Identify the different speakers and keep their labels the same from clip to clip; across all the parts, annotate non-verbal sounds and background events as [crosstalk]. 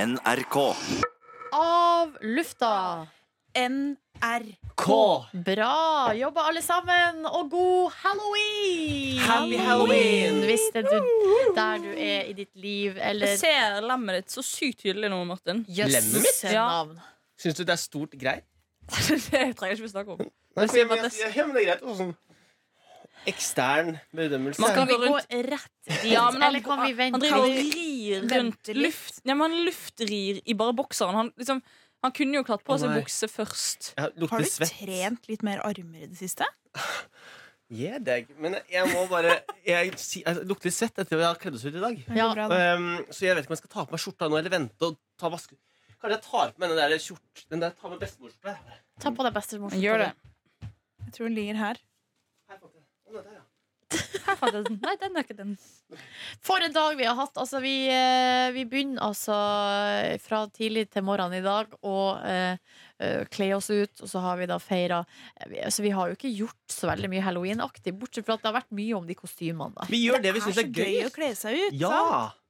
Speaker 1: NRK.
Speaker 2: av lufta.
Speaker 3: NRK.
Speaker 2: Bra jobba, alle sammen, og god halloween!
Speaker 3: Happy Halloween!
Speaker 2: Hvis det du, der du er i ditt liv, eller
Speaker 4: Jeg ser lemmet ditt så sykt tydelig nå, Martin.
Speaker 3: Lemmet
Speaker 2: Jøss,
Speaker 3: mitt?
Speaker 2: en
Speaker 4: Ja.
Speaker 2: navn.
Speaker 3: Syns du det er stort greit?
Speaker 4: [laughs] det trenger jeg ikke vi snakke om.
Speaker 3: Nei,
Speaker 4: sier
Speaker 3: men, jeg,
Speaker 4: man
Speaker 3: jeg, ja, men det er greit. også Sånn ekstern bedømmelse.
Speaker 4: Man
Speaker 2: Kan
Speaker 4: skal-
Speaker 2: vi
Speaker 4: Gå
Speaker 2: gå
Speaker 4: rundt.
Speaker 2: rett dit,
Speaker 4: Ja, men han,
Speaker 2: eller kan vi
Speaker 4: han
Speaker 2: vente?
Speaker 4: driver og
Speaker 2: Kan vi,
Speaker 4: rir
Speaker 5: Vente
Speaker 4: rundt
Speaker 5: litt.
Speaker 4: luft. Ja, men han luftrir i bare bokseren. Han, liksom, han kunne jo klart på
Speaker 3: Å,
Speaker 4: seg
Speaker 3: nei.
Speaker 4: bukse først.
Speaker 3: Ja,
Speaker 5: Har
Speaker 3: lukter
Speaker 5: du
Speaker 3: svett.
Speaker 5: trent litt mer armer i det siste?
Speaker 3: Yeah, dag. Men jeg må bare Jeg, si, jeg lukter svett etter at jeg har kledd oss ut i dag.
Speaker 2: Ja.
Speaker 5: Bra, da.
Speaker 3: Um, så jeg vet ikke om jeg skal ta på meg skjorta nå eller vente og ta vaske... Kanskje jeg tar på meg den der skjort... Den der tar med bestemorskjorta.
Speaker 2: ta på deg bestemors
Speaker 4: Gjør det.
Speaker 5: Jeg tror hun ligger her.
Speaker 3: Her, fant jeg den. Å, den der, ja.
Speaker 4: Her fant jeg den. Nei, den er ikke den.
Speaker 2: For en dag vi har hatt. Altså, vi, eh, vi begynner altså fra tidlig til morgenen i dag å eh, eh, kle oss ut, og så har vi da feira altså, Vi har jo ikke gjort så veldig mye halloweenaktig, bortsett fra at det har vært mye om de kostymene, da.
Speaker 3: Vi gjør det vi
Speaker 5: er
Speaker 3: syns
Speaker 5: så
Speaker 3: er
Speaker 5: gøy
Speaker 3: gøy.
Speaker 5: å kle seg ut. sånn.
Speaker 3: Ja!
Speaker 5: sant?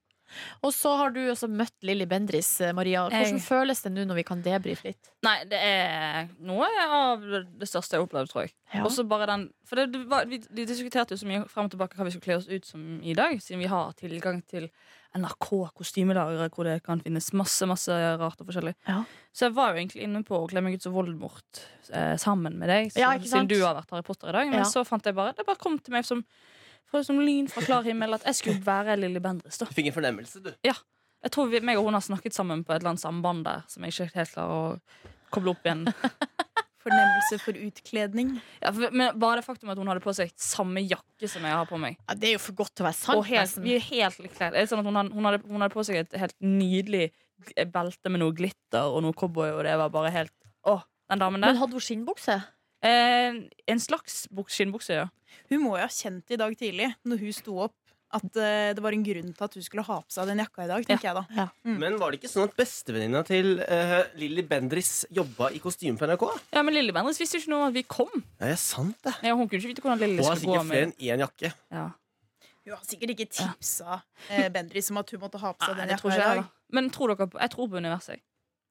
Speaker 2: Og så har du også møtt Lilly Bendris, eh, Maria. Hvordan
Speaker 4: Jeg-
Speaker 2: føles det nå når vi kan debrife litt?
Speaker 4: Nei, det er noe av det største jeg har opplevd, tror jeg.
Speaker 2: Ja.
Speaker 4: Også bare den, for det, det var, vi de diskuterte jo så mye frem og tilbake hva vi skulle kle oss ut som i dag, siden vi har tilgang til NRK kostymelagre, hvor det kan finnes masse masse rart og forskjellig.
Speaker 2: Ja.
Speaker 4: Så jeg var jo egentlig inne på å kle meg ut som Voldemort eh, sammen med deg, så,
Speaker 2: Ja, ikke sant?
Speaker 4: siden du har vært Harry Potter i dag. Men
Speaker 2: Ja.
Speaker 4: så fant jeg bare Det bare kom til meg som, fra- som lyn fra klar himmel at jeg skulle være Lilly Bendriss, da.
Speaker 3: Du fikk en fornemmelse, du.
Speaker 4: Jeg tror vi, meg og hun har snakket sammen på et eller annet samband der som jeg ikke helt klarer å koble
Speaker 2: [laughs]
Speaker 4: opp igjen.
Speaker 5: Fornemmelse for utkledning.
Speaker 4: Ja, for, men bare det faktum at hun hadde på seg samme jakke som jeg har på meg.
Speaker 2: Ja, det er jo for godt til å være sant.
Speaker 4: og helt,
Speaker 2: nesten.
Speaker 4: vi er helt likt kledd. Det er Sånn at hun, hadde, hun, hadde, hun hadde på seg et helt nydelig belte med noe glitter og noe cowboy, og det var bare helt Å, den damen
Speaker 2: Men
Speaker 4: der.
Speaker 2: hadde hun skinnbukse?
Speaker 4: Eh, en slags buks, skinnbukse, ja.
Speaker 5: Hun må jo ha kjent det i dag tidlig, når hun sto opp, at eh, det var en grunn til at hun skulle ha på seg den jakka i dag, tenker jeg da. Mm.
Speaker 3: Men var det ikke sånn at bestevenninna til uh, Lilly Bendris jobba i kostyme på NRK?
Speaker 4: ja. Men Lilly Bendriss visste jo ikke noe om at vi kom.
Speaker 3: Ja, det er sant, det.
Speaker 4: Ja, hun kunne ikke vite hvordan Lilly
Speaker 3: Hun har
Speaker 4: skulle gå
Speaker 3: sikkert flere
Speaker 4: med
Speaker 3: enn én jakke.
Speaker 4: ja.
Speaker 5: Hun har sikkert ikke tipsa eh, Bendris om at hun måtte ha på seg
Speaker 4: Nei,
Speaker 5: den
Speaker 4: det tror
Speaker 5: jakka i
Speaker 4: ikke Ah, jeg,
Speaker 5: dag.
Speaker 4: da. Men tror dere på, jeg tror på universet. jeg.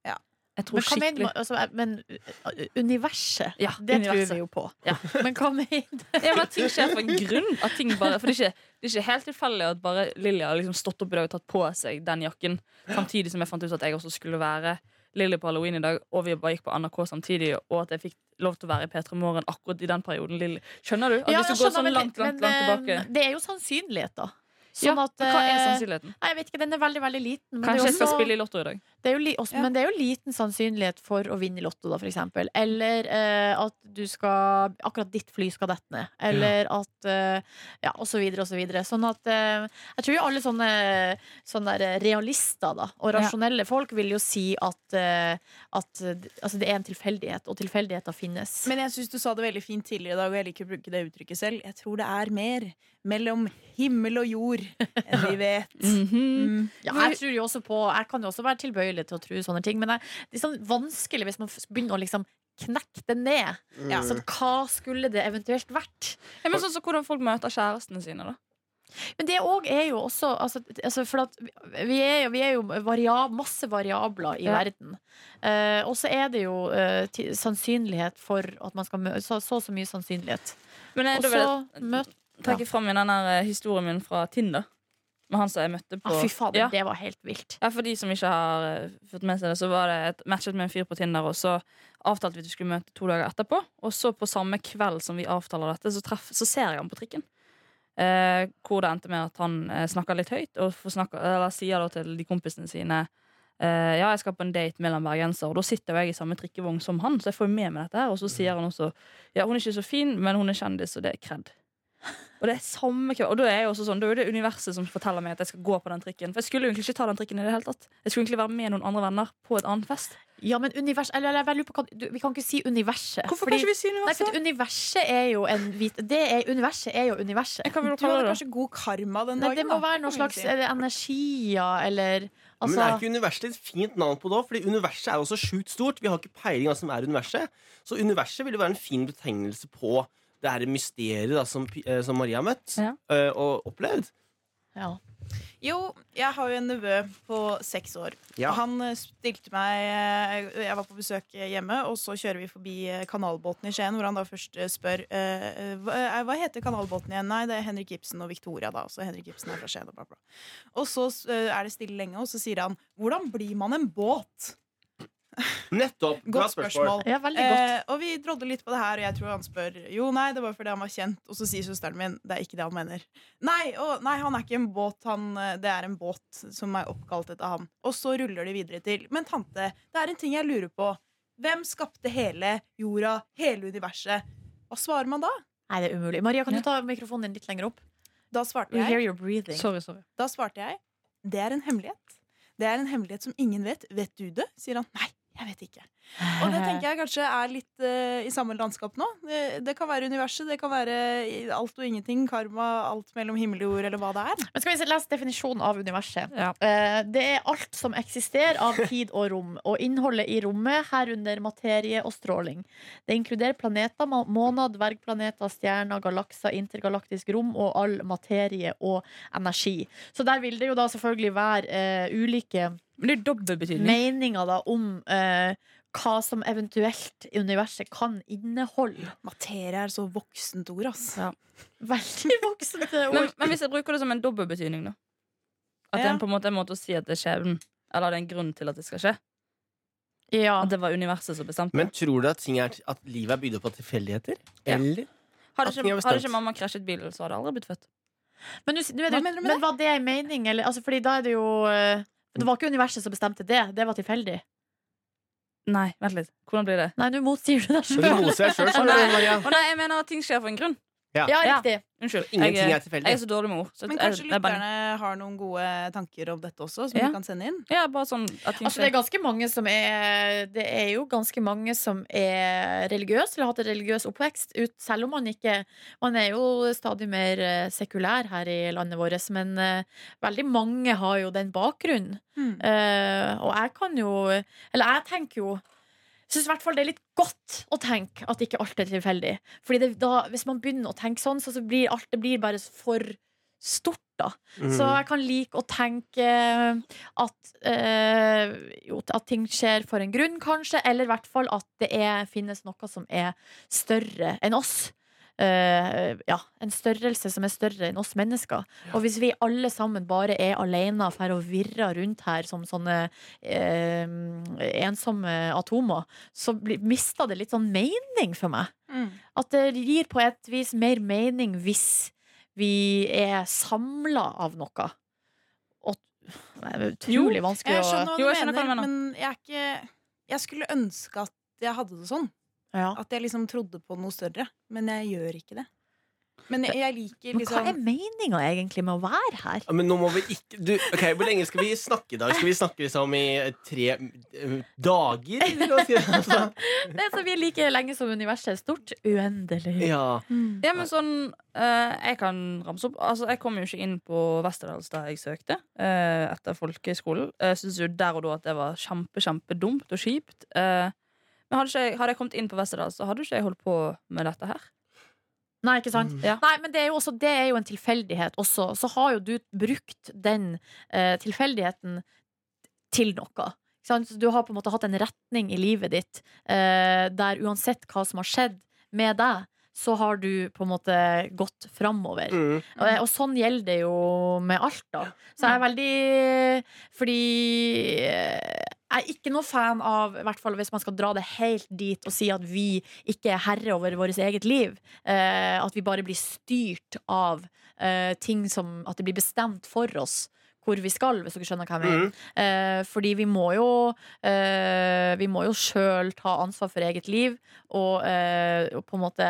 Speaker 5: Ja.
Speaker 4: Jeg tror
Speaker 2: Men, hva mener,
Speaker 4: skikkelig
Speaker 2: man- altså, men uh, universet,
Speaker 4: Ja,
Speaker 2: det
Speaker 4: universet.
Speaker 2: tror vi jo på.
Speaker 4: Ja.
Speaker 2: [laughs] Men hva mener
Speaker 4: Ja, men at ting skjer for en grunn. At ting bare, for det er, ikke, det er ikke helt tilfeldig at bare Lilly har liksom stått opp i dag og tatt på seg den jakken. Samtidig som jeg fant ut at jeg også skulle være Lilly på halloween i dag, og vi bare gikk på NRK samtidig, og at jeg fikk lov til å være i P3 Morgen akkurat i den perioden. Lilly. Skjønner du? At
Speaker 2: Ja, jeg
Speaker 4: hvis du går
Speaker 2: skjønner,
Speaker 4: sånn
Speaker 2: men-
Speaker 4: langt, langt, langt
Speaker 2: men, eh,
Speaker 4: tilbake
Speaker 2: Det er jo sannsynlighet, da. Sånn
Speaker 4: ja,
Speaker 2: at,
Speaker 4: men Hva er
Speaker 2: eh,
Speaker 4: sannsynligheten?
Speaker 2: Nei, jeg vet ikke, Den er veldig veldig liten. Men det er
Speaker 4: Kanskje jeg skal
Speaker 2: også-
Speaker 4: spille i Lotto i dag.
Speaker 2: det er jo li også,
Speaker 5: Ja.
Speaker 2: Men det er jo liten sannsynlighet for å vinne i Lotto, da, for eksempel. Eller eh, at du skal akkurat ditt fly skal dette ned. Eller at eh, Ja, og så videre og så videre. Sånn at eh, Jeg tror jo alle sånne, sånne der realister da, og
Speaker 5: Ja.
Speaker 2: rasjonelle folk vil jo si at, eh, at eh, altså, det er en tilfeldighet, og tilfeldigheter finnes.
Speaker 5: Men jeg syns du sa det veldig fint tidligere i dag, og jeg liker å bruke det uttrykket selv. Jeg tror det er mer mellom himmel og jord enn vi vet. Mm.
Speaker 2: Ja, jeg tror jo også på Jeg kan jo også være tilbøyelig til å tro sånne ting, men det er litt sånn vanskelig hvis man f- begynner å liksom knekke det ned.
Speaker 3: Mm.
Speaker 5: Ja.
Speaker 2: Sånn, hva skulle det eventuelt vært?
Speaker 4: Ja, men sånn som hvordan folk møter kjærestene sine, da.
Speaker 2: Men det òg er jo også altså, altså For at vi er jo, vi er jo varia, masse variabler i
Speaker 4: Ja.
Speaker 2: verden. Eh, og så er det jo eh, ti- sannsynlighet for at man skal møte Så så, og så mye sannsynlighet.
Speaker 4: Men jeg,
Speaker 2: Og
Speaker 4: da vil
Speaker 2: så
Speaker 4: jeg
Speaker 2: møte
Speaker 4: trekke fram igjen den der, eh, historien min fra Tinder. Med han som jeg møtte på
Speaker 2: ah, Fy fader,
Speaker 4: Ja.
Speaker 2: det var helt vilt.
Speaker 4: Ja, For de som ikke har eh, fått med seg det, så var det et matchet med en fyr på Tinder, og så avtalte vi at vi skulle møte to dager etterpå. Og så på samme kveld som vi avtaler dette, så, treff, så ser jeg ham på trikken. Eh, hvor det endte med at han eh, snakker litt høyt, og får snakke- eller, sier da til de kompisene sine eh, Ja, jeg skal på en date med en bergenser, og da sitter jo jeg i samme trikkevogn som han, så jeg får jo med meg dette her. Og så sier han også Ja, hun er ikke så fin, men hun er kjendis, og det er kred. Og det er samme kveld. Og da er jeg også sånn, da er det universet som forteller meg at jeg skal gå på den trikken. For jeg skulle jo egentlig ikke ta den trikken i det hele tatt. Jeg skulle egentlig være med noen andre venner på et annet fest.
Speaker 2: Ja, men univers Eller, eller jeg lurer på hva du- Vi kan ikke si universet.
Speaker 4: Hvorfor
Speaker 2: fordi-
Speaker 4: kan ikke vi si
Speaker 2: Nei, for
Speaker 4: universet?
Speaker 2: at universet er jo en hvit det er, Universet er jo universet.
Speaker 4: Hva vil du
Speaker 5: Du
Speaker 4: kalle
Speaker 5: hadde
Speaker 4: det? da?
Speaker 5: kanskje god karma den
Speaker 2: Nei,
Speaker 5: dagen.
Speaker 2: det må
Speaker 5: da,
Speaker 2: være noe
Speaker 5: kan man
Speaker 2: slags
Speaker 5: si.
Speaker 2: er det energier eller
Speaker 3: Men er
Speaker 2: altså,
Speaker 3: ikke universet et fint navn på det òg? Fordi universet er jo så sjukt stort. Vi har ikke peiling av hva som er universet. Så universet vil jo være en fin betegnelse på det her mysteriet da, som, Pi- eh, som Maria har møtt
Speaker 4: Ja.
Speaker 3: eh, og opplevd.
Speaker 2: ja.
Speaker 5: Jo, jeg har jo en nevø på seks år.
Speaker 3: Ja.
Speaker 5: Og Han eh, stilte meg eh, Jeg var på besøk hjemme, og så kjører vi forbi eh, kanalbåten i Skien, hvor han da først eh, spør eh, hva eh, hva heter kanalbåten igjen. Nei, det er Henrik Ibsen og Victoria, da. Så Henrik Ibsen er fra Skien og bla, bla. Og så eh, er det stille lenge, og så sier han hvordan blir man en båt?
Speaker 3: Nettopp! Bra
Speaker 5: Godt spørsmål.
Speaker 2: Ja, veldig godt.
Speaker 5: Eh, og vi drodde litt på det her, og jeg tror han spør Jo, nei, det var fordi han var kjent. Og så sier søsteren min det er ikke det han mener. Nei, å, nei han er ikke en båt. Han, eh, det er en båt som er oppkalt etter han. Og så ruller de videre til. Men tante, det er en ting jeg lurer på. Hvem skapte hele jorda, hele universet? Hva svarer man da?
Speaker 2: Nei, det er umulig. Maria, kan du ta mikrofonen din litt lenger opp?
Speaker 5: Da svarte
Speaker 2: We hear
Speaker 5: jeg,
Speaker 2: your breathing.
Speaker 4: Sorry, sorry.
Speaker 5: da svarte jeg det er en hemmelighet. Det er en hemmelighet som ingen vet. Vet du det? sier han. Nei, jeg vet ikke. Og det tenker jeg kanskje er litt eh, i samme landskap nå. Det, det kan være universet, det kan være i- alt og ingenting, karma, alt mellom himmel og jord, eller hva det er.
Speaker 2: Men skal vi lese definisjonen av universet?
Speaker 4: Ja.
Speaker 2: Eh, Det er alt som eksisterer av tid og rom, og innholdet i rommet, herunder materie og stråling. Det inkluderer planeter, ma- måner, dvergplaneter, stjerner, galakser, intergalaktisk rom og all materie og energi. Så der vil det jo da selvfølgelig være eh, ulike
Speaker 4: Men det er dobbel betydning.
Speaker 2: meninger da om eh, hva som eventuelt universet kan inneholde. [laughs]
Speaker 5: Materie er så voksent ord, ass.
Speaker 2: Veldig voksent eh, ord.
Speaker 4: Men, men hvis jeg bruker det som en dobbel betydning, da? At det
Speaker 5: Ja.
Speaker 4: er på en måte en måte å si at det er skjebnen. Eller det er en grunn til at det skal skje.
Speaker 2: ja.
Speaker 4: At det var universet som bestemte.
Speaker 3: Men tror du at, ting er, at livet er bygd opp av tilfeldigheter?
Speaker 4: Ja.
Speaker 3: Eller?
Speaker 4: Hadde
Speaker 3: at ting er
Speaker 4: ikke,
Speaker 3: bestemt.
Speaker 4: hadde ikke mamma krasjet bilen, så hadde jeg aldri blitt født.
Speaker 2: Men, nu, nu er det,
Speaker 5: Hva mener du med
Speaker 2: men var det en mening? Eller, altså, fordi da er det jo eh, Det var ikke universet som bestemte det. Det var tilfeldig.
Speaker 4: Nei, vent litt. Hvordan blir det?
Speaker 2: Nei, nå motsier du deg
Speaker 3: Men du
Speaker 2: sjøl.
Speaker 3: moser deg sjøl,
Speaker 4: Å, nei.
Speaker 3: skjønner du, Maria.
Speaker 4: Å [laughs] nei, jeg mener at ting skjer for en grunn.
Speaker 2: Ja,
Speaker 4: Ja.
Speaker 2: riktig.
Speaker 4: Unnskyld.
Speaker 3: Ingenting
Speaker 4: jeg,
Speaker 3: er tilfeldig.
Speaker 4: jeg er så dårlig med ord. Så
Speaker 5: Men
Speaker 4: jeg-
Speaker 5: kanskje
Speaker 4: jeg bare-
Speaker 5: lytterne har noen gode tanker om dette også, som
Speaker 4: Ja.
Speaker 5: du kan sende inn?
Speaker 4: Ja, bare sånn at ting
Speaker 2: Altså, det er
Speaker 4: skjer.
Speaker 2: ganske mange som er Det er jo ganske mange som er religiøse, eller har hatt en religiøs oppvekst, ut, selv om man ikke Man er jo stadig mer eh, sekulær her i landet vårt, men eh, veldig mange har jo den bakgrunnen.
Speaker 5: Mm.
Speaker 2: Eh, og jeg kan jo Eller jeg tenker jo Syns i hvert fall det er litt godt å tenke at ikke alt er tilfeldig. Fordi det, da, hvis man begynner å tenke sånn, så, så blir alt det blir bare for stort. da
Speaker 3: Mm.
Speaker 2: Så jeg kan like å tenke at, eh, jo, at ting skjer for en grunn, kanskje. Eller i hvert fall at det er, finnes noe som er større enn oss. Eh, ja, en størrelse som er større enn oss mennesker. Og hvis vi alle sammen bare er alene for å virre rundt her som sånne eh, ensomme atomer, så blir- mister det litt sånn mening for meg.
Speaker 5: Mm.
Speaker 2: At det gir på et vis mer mening hvis vi er samla av noe. Og det er utrolig vanskelig
Speaker 5: Jeg
Speaker 2: å
Speaker 5: skjønner
Speaker 4: Jo,
Speaker 5: hva
Speaker 4: jeg
Speaker 5: du
Speaker 4: skjønner hva
Speaker 5: mener,
Speaker 4: du mener.
Speaker 5: men jeg er ikke Jeg skulle ønske at jeg hadde det sånn.
Speaker 2: ja.
Speaker 5: At jeg liksom trodde på noe større. Men jeg gjør ikke det. Men jeg, jeg liker
Speaker 2: Men hva
Speaker 5: liksom
Speaker 2: er sånn- meninga egentlig med å være her?
Speaker 3: Ja, Men nå må vi ikke du, Ok, Hvor lenge skal vi snakke i dag? Skal vi snakke liksom i tre eh, dager? eller hva skal jeg si? Altså,
Speaker 2: Det er så vi er like lenge som universet er stort. Uendelig.
Speaker 3: Ja.
Speaker 5: Mm.
Speaker 4: Ja, men sånn eh, Jeg kan ramse opp. Altså, jeg kom jo ikke inn på Westerdals da jeg søkte eh, etter folkehøyskolen. Jeg syntes jo der og da at det var kjempe, kjempedumt og kjipt. Eh, men hadde, ikke jeg, hadde jeg kommet inn på Westerdals, så hadde ikke jeg holdt på med dette her.
Speaker 2: Nei, ikke sant?
Speaker 4: Ja.
Speaker 2: Nei, men det er jo, også, det er jo en tilfeldighet også. Så har jo du brukt den eh, tilfeldigheten til noe. Ikke sant? Så Du har på en måte hatt en retning i livet ditt eh, der uansett hva som har skjedd med deg, så har du på en måte gått framover.
Speaker 3: Mm.
Speaker 2: Og, og sånn gjelder det jo med alt, da. Så jeg er veldig Fordi eh, jeg er ikke noe fan av, i hvert fall hvis man skal dra det helt dit og si at vi ikke er herre over vårt eget liv. eh, At vi bare blir styrt av eh, ting som At det blir bestemt for oss hvor vi skal, hvis dere skjønner hva jeg mener.
Speaker 3: Mm.
Speaker 2: Eh, fordi vi må jo eh, Vi må jo sjøl ta ansvar for eget liv og, eh, og på en måte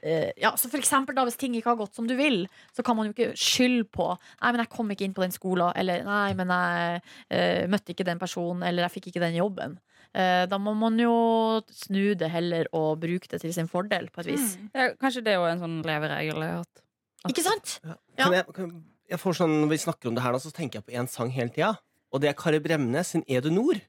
Speaker 2: eh, ja, så for eksempel da, Hvis ting ikke har gått som du vil, så kan man jo ikke skylde på Nei, men jeg kom ikke inn på den skolen, eller nei, men jeg eh, møtte ikke den personen, eller jeg fikk ikke den jobben. Eh, da må man jo snu det heller og bruke det til sin fordel, på et vis.
Speaker 5: Mm.
Speaker 4: Ja, kanskje det er jo en sånn leveregel jeg har hatt. At-
Speaker 2: Mm. Ikke sant? Ja.
Speaker 3: Kan jeg, kan, jeg får sånn, Når vi snakker om det her, nå, så tenker jeg på én sang hele tida. Og det er Kari Bremnes sin Er du nord?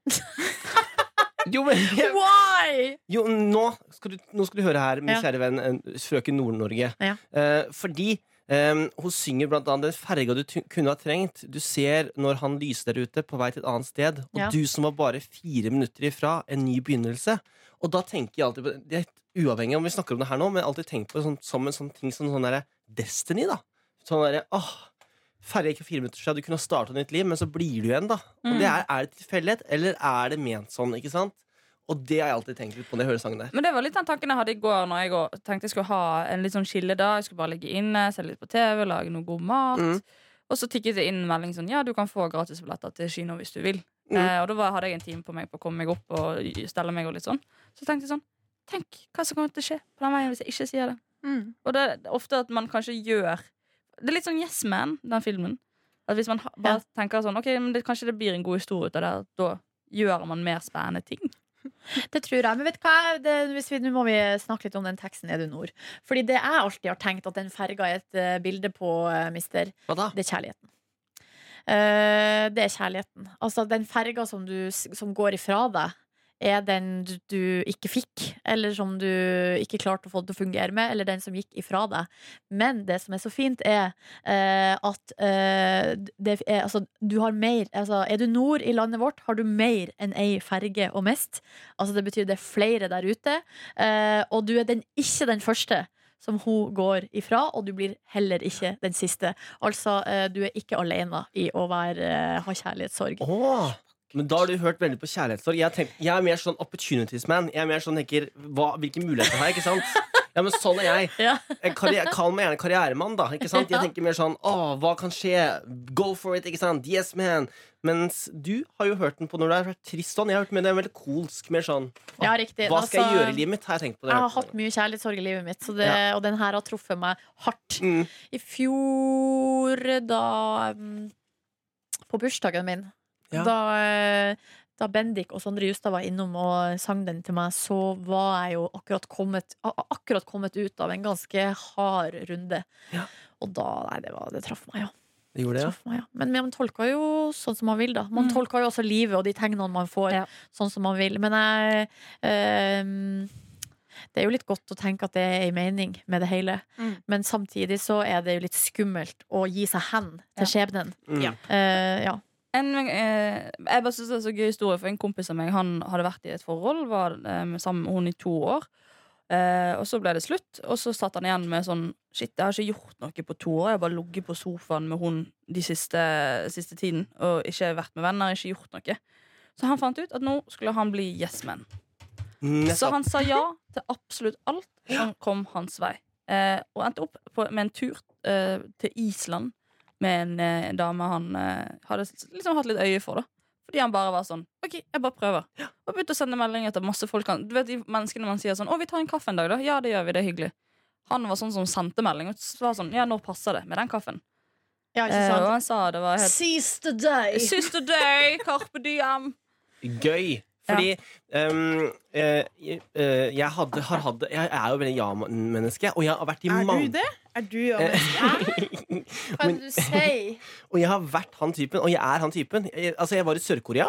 Speaker 3: jo, men,
Speaker 2: Why?
Speaker 3: jo, nå skal, du, nå skal du høre her, min
Speaker 2: Ja.
Speaker 3: kjære venn eh, frøken Nord-Norge.
Speaker 2: Ja.
Speaker 3: Eh, fordi Ehm, hun synger blant annet 'Den ferga du tu- kunne ha trengt'. Du ser når han lyser der ute, på vei til et annet sted. Og
Speaker 2: Ja.
Speaker 3: du som var bare fire minutter ifra en ny begynnelse. Og da tenker jeg alltid på det er Uavhengig om vi snakker om det her nå, men jeg har alltid tenkt på det sånn, som en sånn ting som sånn derre destiny, da. Sånn derre åh, ferga gikk for fire minutter siden, du kunne ha starta nytt liv, men så blir du igjen, da. Og
Speaker 2: Mm.
Speaker 3: det er, er det tilfeldighet, eller er det ment sånn, ikke sant? Og det har jeg alltid tenkt litt på når jeg hører sangen der.
Speaker 4: Men det var litt den tanken jeg hadde i går Når jeg går- tenkte jeg skulle ha en litt sånn skille da Jeg skulle bare ligge inne, se litt på TV, lage noe god mat
Speaker 3: Mm.
Speaker 4: Og så tikket det inn en melding sånn Ja, du kan få gratisbilletter til kino hvis du vil
Speaker 3: Mm.
Speaker 4: eh, Og da var, hadde jeg en time på meg på å komme meg opp Og y- stelle meg og litt sånn Så tenkte jeg sånn, tenk hva som kommer til å skje På den veien hvis jeg ikke sier det
Speaker 5: Mm.
Speaker 4: Og det er ofte at man kanskje gjør Det er litt sånn Yes Man, den filmen At hvis man ha- bare tenker sånn Ok, men det, kanskje det blir en god historie ut av det at Da gjør man mer spennende ting
Speaker 2: Det tror jeg. Men vet du hva, det, hvis vi, nå må vi snakke litt om den teksten 'Er du nord'? Fordi det jeg alltid har tenkt at den ferga er et eh, bilde på, eh, mister,
Speaker 3: Hva da?
Speaker 2: det er kjærligheten. Eh, det er kjærligheten. Altså den ferga som, du, s- som går ifra deg, er den du, du ikke fikk, eller som du ikke klarte å få det til å fungere med, eller den som gikk ifra deg. Men det som er så fint, er eh, at eh, det er, altså, du har mer altså, Er du nord i landet vårt, har du mer enn ei ferge å miste. Altså, det betyr det er flere der ute, eh, og du er den, ikke den første. Som hun går ifra, og du blir heller ikke den siste. Altså, eh, du er ikke alene i å være, eh, ha kjærlighetssorg.
Speaker 3: Åh, men da har du hørt veldig på kjærlighetssorg. Jeg, har tenkt- jeg er mer sånn opportunities man. Jeg er mer sånn tenker hva, Hvilke muligheter har jeg? ikke sant? Ja, men sånn er jeg.
Speaker 2: [laughs] Ja.
Speaker 3: jeg karri- Kall meg gjerne karrieremann, da. ikke sant? Jeg tenker mer sånn åh, hva kan skje? Go for it, ikke sant? Yes, man. Mens du har jo hørt den på når det har vært trist sånn. Jeg har hørt den med det er veldig kolsk, mer sånn
Speaker 2: Ja, riktig.
Speaker 3: Hva skal jeg
Speaker 2: Altså,
Speaker 3: gjøre i livet mitt? Har jeg tenkt på det.
Speaker 2: Jeg har hatt mye kjærlighetssorg i livet mitt, så det, og den her har truffet meg hardt.
Speaker 3: Mm.
Speaker 2: I fjor, da mm, På bursdagen min,
Speaker 3: Ja.
Speaker 2: da, eh, da Bendik og Sondre Justad var innom og sang den til meg, så var jeg jo akkurat kommet, a- a- akkurat kommet ut av en ganske hard runde.
Speaker 3: Ja.
Speaker 2: Og da Nei, det, var, det traff meg, ja.
Speaker 3: Det gjorde det, ja.
Speaker 2: Traff meg, ja. Men man tolker jo sånn som man vil, da. Man
Speaker 4: Mm.
Speaker 2: tolker jo også livet og de tegnene man får,
Speaker 4: Ja.
Speaker 2: sånn som man vil. Men jeg ehm, Det er jo litt godt å tenke at det er en mening med det hele.
Speaker 5: Mm.
Speaker 2: Men samtidig så er det jo litt skummelt å gi seg hen til skjebnen.
Speaker 3: Mm.
Speaker 5: Ja.
Speaker 2: Eh, ja.
Speaker 4: en, eh, jeg bare synes det er så gøy historie For en kompis av meg, han hadde vært i et forhold Var eh, sammen med hun i to år eh, Og så ble det slutt Og så satt han igjen med sånn Shit, jeg har ikke gjort noe på to år Jeg har bare ligget på sofaen med hun De siste, siste tiden Og ikke vært med venner, ikke gjort noe Så han fant ut at nå skulle han bli yes man så
Speaker 3: Mm, Nettopp.
Speaker 4: han sa ja til absolutt alt som kom hans vei. Eh, og endte opp på, med en tur eh, til Island med en eh, dame han eh, hadde s- liksom hatt litt øye for. da fordi han bare var sånn OK, jeg bare prøver. Og begynte å sende meldinger til masse folk. Han, du vet de menneskene man sier sånn 'Å, vi tar en kaffe en dag, da.' Ja, det gjør vi. Det er hyggelig. Han var sånn som sendte melding og s- var sånn 'Ja, når passer det med den kaffen?'
Speaker 2: ja, ikke
Speaker 4: Eh, og
Speaker 2: sant?
Speaker 4: han sa det var helt
Speaker 2: Seize the day!
Speaker 4: Sister day, carpe diem.
Speaker 3: gøy. Fordi ehm, eh, eh, jeg, hadde, har hatt det- jeg er jo veldig ja-menneske, og jeg har vært i
Speaker 5: Er
Speaker 3: mange Eh.
Speaker 5: du det? Er du ja, men,
Speaker 2: Hva er det du sier?
Speaker 3: Og jeg har vært han typen, og jeg er han typen. Jeg, altså, jeg var i Sør-Korea.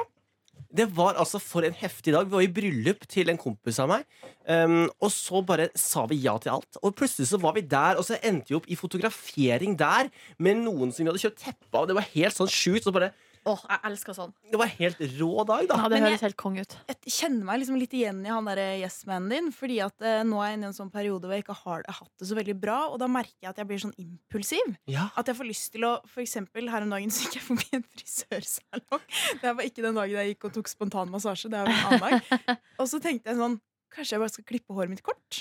Speaker 3: Det var altså for en heftig dag. Vi var i bryllup til en kompis av meg. Um, og så bare sa vi ja til alt. Og plutselig så var vi der, og så endte vi opp i fotografering der med noen som vi hadde kjøpt teppe av. Det var helt sånn sjukt. Så bare,
Speaker 2: [laughs] Åh, jeg elsker sånn.
Speaker 3: det var en helt rå dag, da.
Speaker 2: Ja, det
Speaker 5: Men jeg-
Speaker 2: høres helt kong ut.
Speaker 5: Jeg kjenner meg liksom litt igjen i han derre yes-manen din. Fordi at eh, nå er jeg inne i en sånn periode hvor jeg ikke har hatt det så veldig bra. Og da merker jeg at jeg blir sånn impulsiv.
Speaker 3: Ja.
Speaker 5: At jeg får lyst til å For eksempel her om dagen så gikk jeg forbi en frisørsalong. Det var ikke den dagen jeg gikk og tok spontan massasje. Det var en annen dag. Og så tenkte jeg sånn Kanskje jeg bare skal klippe håret mitt kort?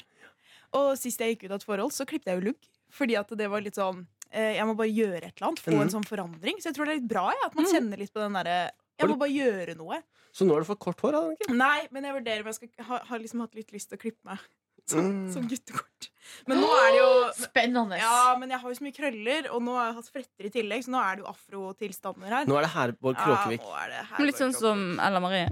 Speaker 5: Og sist jeg gikk ut av et forhold, så klippet jeg jo lugg. Fordi at det var litt sånn eh, Jeg må bare gjøre et eller annet. Få
Speaker 3: Mhm.
Speaker 5: en sånn forandring. Så jeg tror det er litt bra jeg, at man kjenner litt på den derre
Speaker 3: Har
Speaker 5: Jeg
Speaker 3: du-
Speaker 5: må bare gjøre noe.
Speaker 3: Så nå er det for kort hår, da. Anniken.
Speaker 5: Nei, men jeg vurderer om jeg skal ha, har liksom hatt litt lyst til å klippe meg som,
Speaker 3: Mm.
Speaker 5: som guttekort. Men nå er det jo
Speaker 2: Spennende.
Speaker 5: Ja, men jeg har jo så mye krøller, og nå har jeg hatt fletter i tillegg, så nå er det jo afrotilstander her.
Speaker 3: Nå er det Herborg Kråkevik.
Speaker 5: Ja, nå er det her
Speaker 4: Litt sånn
Speaker 5: bare
Speaker 4: som
Speaker 5: kroppen.
Speaker 4: Ella Marie.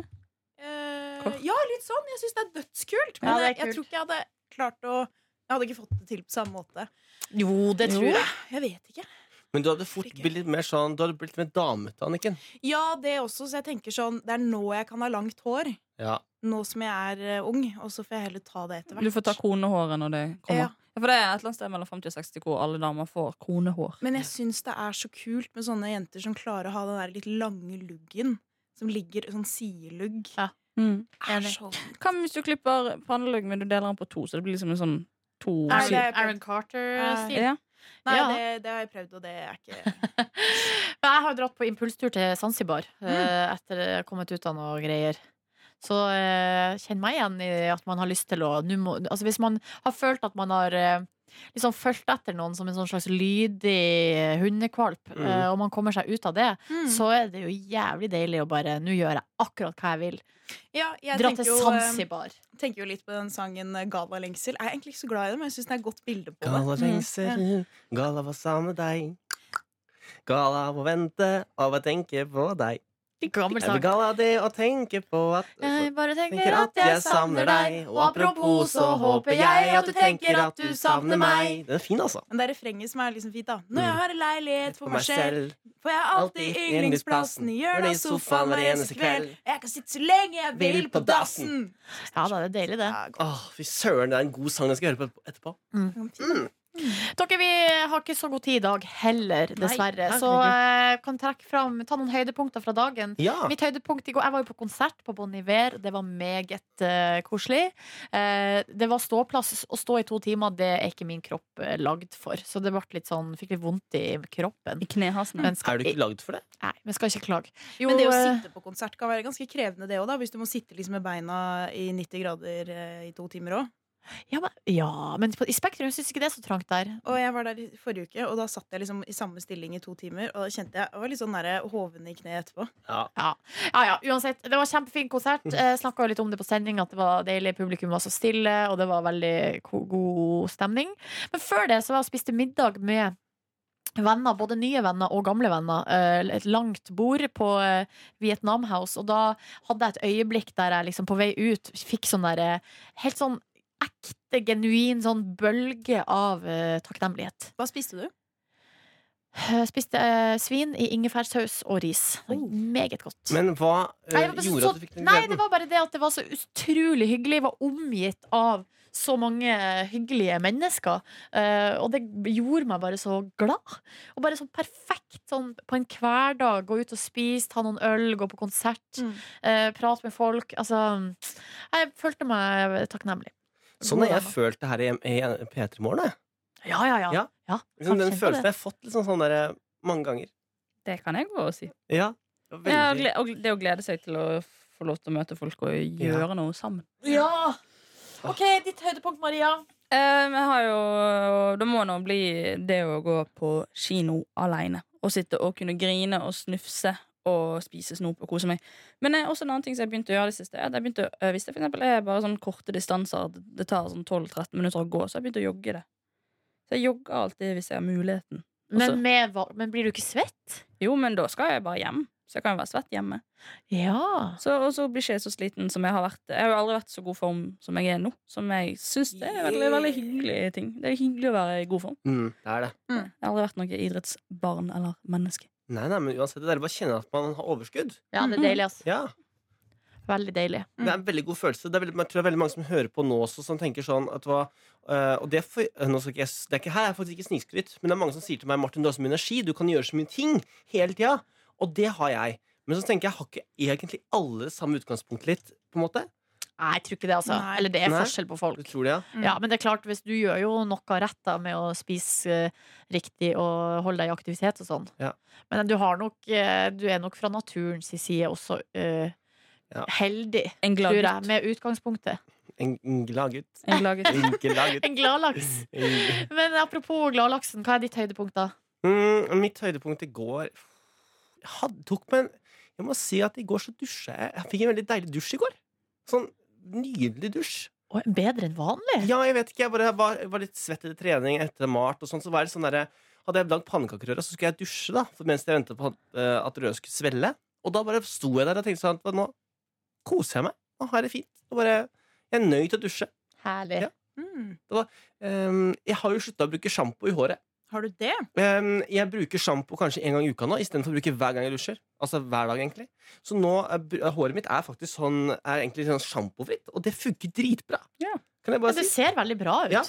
Speaker 5: Eh, Ja, litt sånn. Jeg syns det er dødskult, men
Speaker 2: Ja, det er
Speaker 5: jeg, jeg
Speaker 2: kult.
Speaker 5: tror ikke jeg hadde klart å Jeg hadde ikke fått det til på samme måte.
Speaker 2: Jo, det tror jeg.
Speaker 5: Jeg vet ikke.
Speaker 3: Men du hadde fort blitt litt mer sånn Du hadde blitt litt mer damete, Anniken.
Speaker 5: Ja, det også, så jeg tenker sånn Det er nå jeg kan ha langt hår.
Speaker 3: Ja.
Speaker 5: Nå som jeg er eh, ung, og så får jeg heller ta det etter hvert.
Speaker 4: Du får ta konehåret når det kommer.
Speaker 5: Ja,
Speaker 4: For det er et eller annet sted mellom 50 og 60 hvor alle damer får kronehår.
Speaker 5: Men jeg syns det er så kult med sånne jenter som klarer å ha den der litt lange luggen. Som ligger sånn sidelugg.
Speaker 2: Ja.
Speaker 4: Mm.
Speaker 5: Er
Speaker 2: Enig.
Speaker 5: så-
Speaker 4: Hva med hvis du klipper pannelugg, men du deler den på to, så det blir liksom en sånn to
Speaker 5: Nei, det
Speaker 4: sider?
Speaker 5: er prøvd.
Speaker 2: Aaron Carter-stil.
Speaker 4: Ja.
Speaker 5: Nei,
Speaker 2: Ja.
Speaker 5: det, det har jeg prøvd, og det er [laughs] ikke
Speaker 2: Men jeg har dratt på impulstur til Zanzibar
Speaker 3: Mm.
Speaker 2: eh, etter jeg har kommet ut av noe greier. Så eh, kjenn meg igjen i at man har lyst til å nå må, altså Hvis man har følt at man har eh, liksom fulgt etter noen som en sånn slags lydig eh, hundekvalp,
Speaker 3: Mm.
Speaker 2: eh, og man kommer seg ut av det,
Speaker 5: Så-
Speaker 2: så er det jo jævlig deilig å bare Nå gjør jeg akkurat hva jeg vil.
Speaker 5: Ja, jeg
Speaker 2: Dra
Speaker 5: tenker
Speaker 2: til
Speaker 5: jo, eh,
Speaker 2: Zanzibar.
Speaker 5: tenker jo litt på den sangen eh, 'Galalengsel'. Jeg er egentlig ikke så glad i det, men jeg syns det er et godt bilde på det. Mm.
Speaker 3: Gala lengser, gala var sammen med deg. Gala må vente av å tenke på deg.
Speaker 2: Gammel
Speaker 3: Er det
Speaker 2: sang.
Speaker 3: gala det å tenke på at
Speaker 2: Jeg bare
Speaker 3: Tenker at jeg savner deg, og apropos så håper jeg at du tenker at du savner meg. Den er fin, altså.
Speaker 5: Men det er refrenget som er liksom fint, da.
Speaker 3: Mm.
Speaker 5: Når jeg har en leilighet for meg selv, får jeg alltid
Speaker 3: alltid
Speaker 5: yndlingsplassen i hjørnet av sofaen hver eneste kveld. Jeg kan sitte så lenge jeg vil på dassen.
Speaker 2: Ja da, det er deilig, det.
Speaker 5: Ja, godt.
Speaker 3: Åh, fy søren, det er en god sang jeg skal høre på etterpå.
Speaker 2: Dere, Vi har ikke så god tid i dag heller, dessverre.
Speaker 3: herregud.
Speaker 2: så jeg kan trekke fram, ta noen høydepunkter fra dagen.
Speaker 3: Ja.
Speaker 2: Mitt høydepunkt i går, Jeg var jo på konsert på Bon Iver. Det var meget eh, koselig. Eh, det var ståplass. Å stå i to timer det er ikke min kropp eh, lagd for. Så det ble litt sånn, fikk litt vondt i kroppen.
Speaker 4: I knehasene.
Speaker 2: Men skal,
Speaker 3: Mm. Er du ikke lagd for det?
Speaker 2: Nei, men skal ikke klage. Jo,
Speaker 5: Men det å
Speaker 2: eh,
Speaker 5: sitte på konsert kan være ganske krevende, det òg, da. Hvis du må sitte liksom med beina i 90 grader eh, i to timer òg.
Speaker 2: ja, men, ja, men på, i Spektrum syns ikke det er så trangt der.
Speaker 5: Og jeg var der i forrige uke, og da satt jeg liksom i samme stilling i to timer. Og da kjente jeg, jeg var litt sånn der hoven i kneet etterpå.
Speaker 3: Ja.
Speaker 2: Ja, ja, uansett, Det var kjempefin konsert. Eh, Snakka litt om det på sending, at det var deilig. Publikum var så stille, og det var veldig ko- god stemning. Men før det så var jeg og spiste middag med venner, både nye venner og gamle venner. eh, Et langt bord på eh, Vietnam House, og da hadde jeg et øyeblikk der jeg liksom på vei ut fikk sånn derre Helt sånn ekte, genuin sånn bølge av eh, takknemlighet.
Speaker 5: Hva spiste du?
Speaker 2: Eh, Spiste eh, svin i ingefærsaus og ris. Meget godt.
Speaker 3: Men hva eh,
Speaker 2: Nei, det var bare
Speaker 3: gjorde
Speaker 2: så,
Speaker 3: at du fikk den
Speaker 2: nei,
Speaker 3: gleden?
Speaker 2: det var bare det at det var så utrolig hyggelig. Jeg var omgitt av så mange hyggelige mennesker. eh, og det gjorde meg bare så glad. Og bare sånn perfekt sånn på en hverdag. Gå ut og spise, ta noen øl, gå på konsert,
Speaker 5: Mm.
Speaker 2: eh, prate med folk. Altså Jeg følte meg takknemlig.
Speaker 3: Sånn har jeg
Speaker 2: Hvordan da?
Speaker 3: følt det her i, i P3 Morgen. jeg.
Speaker 2: Ja, ja, ja.
Speaker 3: Ja.
Speaker 2: Ja,
Speaker 3: Liksom,
Speaker 2: kan
Speaker 3: den
Speaker 2: kjenne på
Speaker 3: følelsen
Speaker 2: det.
Speaker 3: jeg har fått liksom, sånn der, eh, mange ganger.
Speaker 4: Det kan jeg òg si.
Speaker 3: Ja. det var veldig-
Speaker 4: Ja, og gle- og det å glede seg til å få lov til å møte folk og gjøre noe sammen.
Speaker 2: Ja! OK, ditt høydepunkt, Maria.
Speaker 4: Eh, men jeg har jo Det må nå bli det å gå på kino aleine. Og sitte og kunne grine og snufse og spise snop og kose meg. Men eh, også en annen ting som jeg begynte å gjøre det siste, er at jeg begynte å, eh, hvis det for eksempel er bare sånn korte distanser, at det tar sånn 12-13 minutter å gå, så har jeg begynt å jogge det. Så jeg jogger alltid hvis jeg har muligheten.
Speaker 2: Men,
Speaker 4: Også-
Speaker 2: med, hva- men blir du ikke svett?
Speaker 4: Jo, men da skal jeg bare hjem. Så jeg kan jo være svett hjemme.
Speaker 2: Ja.
Speaker 4: Så, og så blir ikke jeg så sliten som jeg har vært. Jeg har jo aldri vært i så god form som jeg er nå. Som jeg syns det er veldig, veldig hyggelig ting. Det er hyggelig å være i god form.
Speaker 3: Mm, det er det.
Speaker 4: Jeg har aldri vært noe idrettsbarn eller menneske.
Speaker 3: Nei, nei, men uansett, det er bare å kjenne at man har overskudd.
Speaker 2: ja, det er deilig, altså.
Speaker 3: Ja,
Speaker 2: [laughs] Veldig deilig.
Speaker 3: Det er en veldig god følelse. Det er veldig, jeg tror det er veldig mange som hører på nå også, som tenker sånn at hva eh, Og det, er for, eh, nå skal ikke jeg, s- det er ikke her, jeg er faktisk ikke snikskryt, men det er mange som sier til meg Martin, du har så mye energi, du kan gjøre så mye ting hele tida. Og det har jeg. Men så tenker jeg, har ikke egentlig alle samme utgangspunkt litt, på en måte?
Speaker 2: Nei, jeg tror ikke det, altså.
Speaker 5: Nei.
Speaker 2: Eller det er
Speaker 3: Nei.
Speaker 2: forskjell på folk.
Speaker 3: Du tror det, ja?
Speaker 5: Mm.
Speaker 2: Ja, men det er klart, hvis du gjør jo noe rett da med å spise eh, riktig og holde deg i aktivitet og sånn.
Speaker 3: Ja.
Speaker 2: Men du har nok eh, Du er nok fra naturens side også eh,
Speaker 3: Ja.
Speaker 2: heldig,
Speaker 4: En glad
Speaker 2: tror jeg,
Speaker 4: gutt.
Speaker 2: med utgangspunktet.
Speaker 3: En, en glad gutt.
Speaker 4: En glad [laughs] gutt.
Speaker 3: En glad gutt.
Speaker 2: [laughs] En gladlaks.
Speaker 3: En-
Speaker 2: Men apropos gladlaksen, hva er ditt høydepunkt, da?
Speaker 3: Mm, mitt høydepunkt i går jeg hadde, tok meg en, Jeg må si at i går så dusja jeg. Jeg fikk en veldig deilig dusj i går. Sånn nydelig dusj.
Speaker 2: Å, bedre enn vanlig?
Speaker 3: Ja, jeg vet ikke. Jeg bare var, var litt svett etter trening etter mart. og sånn, så var det sånn der, Hadde jeg lagd pannekakerøre, så skulle jeg dusje da, for mens jeg ventet på eh, at røret skulle svelle. Og da bare sto jeg der og tenkte sånn at nå koser jeg meg. Nå har jeg det fint. Og bare, jeg er nøyd til å dusje.
Speaker 2: Herlig.
Speaker 3: Ja.
Speaker 5: Mm.
Speaker 3: Ehm, jeg har jo slutta å bruke sjampo i håret.
Speaker 5: Har du det?
Speaker 3: Ehm, jeg bruker sjampo kanskje en gang i uka nå, istedenfor å bruke hver gang jeg dusjer. Altså hver dag egentlig Så nå er, br- eh, håret mitt er faktisk sånn Er egentlig sånn sjampofritt, og det funker dritbra.
Speaker 4: Ja.
Speaker 3: Kan jeg
Speaker 2: Ja,
Speaker 3: bare
Speaker 2: det
Speaker 3: si
Speaker 2: ser veldig bra ut.
Speaker 3: Ja.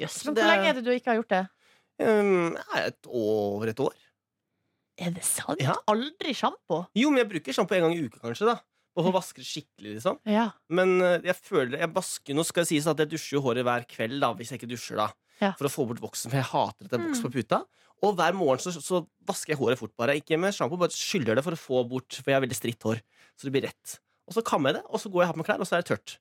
Speaker 2: Jøss, men
Speaker 5: Det
Speaker 2: hvor
Speaker 5: er-
Speaker 2: lenge er det du ikke har gjort det?
Speaker 3: Um, nei, et over et år.
Speaker 2: Er det sant?
Speaker 3: Ja.
Speaker 2: Aldri sjampo?
Speaker 3: Jo, men jeg bruker sjampo en gang i uka, kanskje. da Og så vasker det skikkelig, liksom.
Speaker 2: Ja.
Speaker 3: Men eh, jeg føler jeg vasker Nå skal det sies at jeg dusjer jo håret hver kveld, da hvis jeg ikke dusjer, da.
Speaker 2: Ja.
Speaker 3: For å få bort voksen, for jeg hater at det er voks
Speaker 5: Mm.
Speaker 3: på puta. Og hver morgen så, så vasker jeg håret fort, bare. Ikke med sjampo, bare skyller det for å få bort, for jeg har veldig stritt hår. Så det blir rett. Og så kammer jeg det, og så går jeg og har på meg klær, og så er det tørt.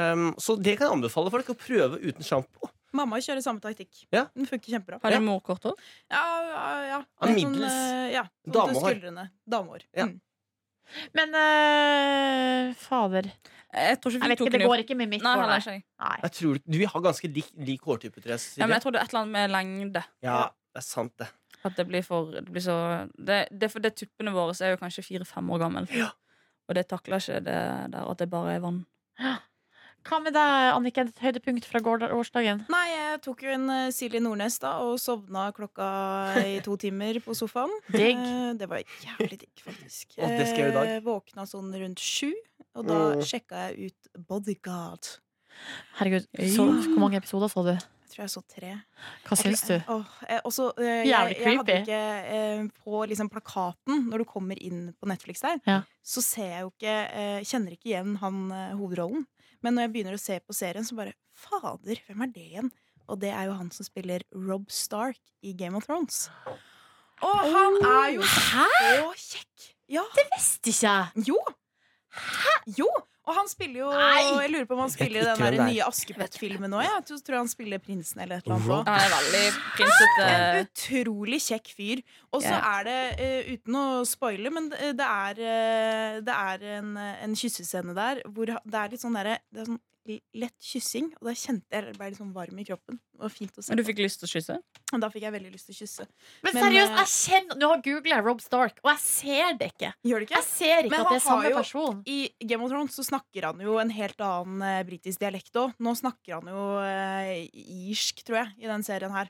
Speaker 3: Um, så det kan jeg anbefale folk å prøve uten sjampo.
Speaker 5: Mamma kjører samme taktikk.
Speaker 3: Ja.
Speaker 5: Den funker kjempebra.
Speaker 4: Har
Speaker 3: Ja.
Speaker 4: din mor kort hår?
Speaker 5: Ja, ja, ja.
Speaker 3: Ja,
Speaker 5: Litt sånn,
Speaker 3: middels.
Speaker 5: eh, ja, sånn
Speaker 3: Damehår.
Speaker 5: til skuldrene. Damehår.
Speaker 3: Ja.
Speaker 5: Mm.
Speaker 2: Men eh, fader
Speaker 4: Jeg tror ikke
Speaker 2: Jeg
Speaker 4: vi
Speaker 2: vet
Speaker 4: tok
Speaker 2: ikke, det
Speaker 4: den i-
Speaker 2: går ikke med mitt
Speaker 4: Nei,
Speaker 2: hår,
Speaker 4: heller
Speaker 2: nei.
Speaker 4: ikke jeg.
Speaker 2: nei.
Speaker 3: Jeg tror Du vi har ganske lik, lik hårtype, tror jeg.
Speaker 4: Ja,
Speaker 3: Silje.
Speaker 4: men jeg tror det er et eller annet med lengde.
Speaker 3: ja, det er sant, det.
Speaker 4: At det blir for Det, blir så, det, det, for det tuppene våre så er jo kanskje fire-fem år gammel.
Speaker 3: Ja.
Speaker 4: Og det takler ikke det der at det bare er vann.
Speaker 2: Hva med deg, Anniken? Et høydepunkt fra gård- årsdagen?
Speaker 5: Nei, jeg tok jo en eh, Silje Nordnes da og sovna klokka i to timer på sofaen.
Speaker 2: Digg.
Speaker 5: Eh, Det var jævlig digg, faktisk.
Speaker 3: Å, det skal jeg i dag.
Speaker 5: Eh, Våkna sånn rundt sju, og da
Speaker 3: Mm.
Speaker 5: sjekka jeg ut Bodyguard.
Speaker 2: Herregud, så, hvor mange episoder så du?
Speaker 5: Jeg tror jeg så tre.
Speaker 2: Hva syns du?
Speaker 5: Åh, eh, også, eh,
Speaker 2: Jævlig
Speaker 5: jeg, jeg hadde
Speaker 2: creepy.
Speaker 5: ikke eh, På liksom plakaten, når du kommer inn på Netflix der,
Speaker 2: Ja.
Speaker 5: så ser jeg jo ikke eh, Kjenner ikke igjen han eh, hovedrollen. Men når jeg begynner å se på serien, så bare Fader, hvem er det igjen? Og det er jo han som spiller Rob Stark i Game of Thrones. Og han er jo
Speaker 2: Hæ?
Speaker 5: så kjekk! Ja.
Speaker 2: Visste ikke jeg!
Speaker 5: Jo! Jo! Og han spiller jo
Speaker 2: Nei!
Speaker 5: Jeg lurer på om han
Speaker 3: Jeg vet
Speaker 5: spiller i
Speaker 3: ikke
Speaker 5: den der
Speaker 3: hvem det er.
Speaker 5: nye Askepott-filmen òg. Jeg tror han spiller prinsen eller et eller annet.
Speaker 3: Rob
Speaker 5: nå.
Speaker 4: Ja, det er veldig eh, prinsete.
Speaker 5: En utrolig kjekk fyr. Og så
Speaker 4: Ja.
Speaker 5: er det, eh, uten å spoile, men det det er, eh, det er en, eh, en kyssescene der hvor ha- det er litt sånn derre Det er sånn l- lett kyssing, og da kjente jeg jeg ble litt sånn varm i kroppen. Det var fint å se.
Speaker 4: Men du
Speaker 5: på.
Speaker 4: fikk lyst til å kysse?
Speaker 5: Og da fikk jeg veldig lyst til å kysse.
Speaker 2: Men
Speaker 5: Men,
Speaker 2: seriøst,
Speaker 5: eh,
Speaker 2: jeg kjenner Nå har googla jeg Rob Stark, og jeg ser det ikke.
Speaker 5: Gjør det
Speaker 2: Jeg
Speaker 5: ikke?
Speaker 2: ser ikke
Speaker 5: Men
Speaker 2: at det er
Speaker 5: han har
Speaker 2: samme
Speaker 5: jo-
Speaker 2: person.
Speaker 5: I Game of Thrones så snakker han jo en helt annen eh, britisk dialekt òg. Nå snakker han jo eh, irsk, tror jeg, i den serien her.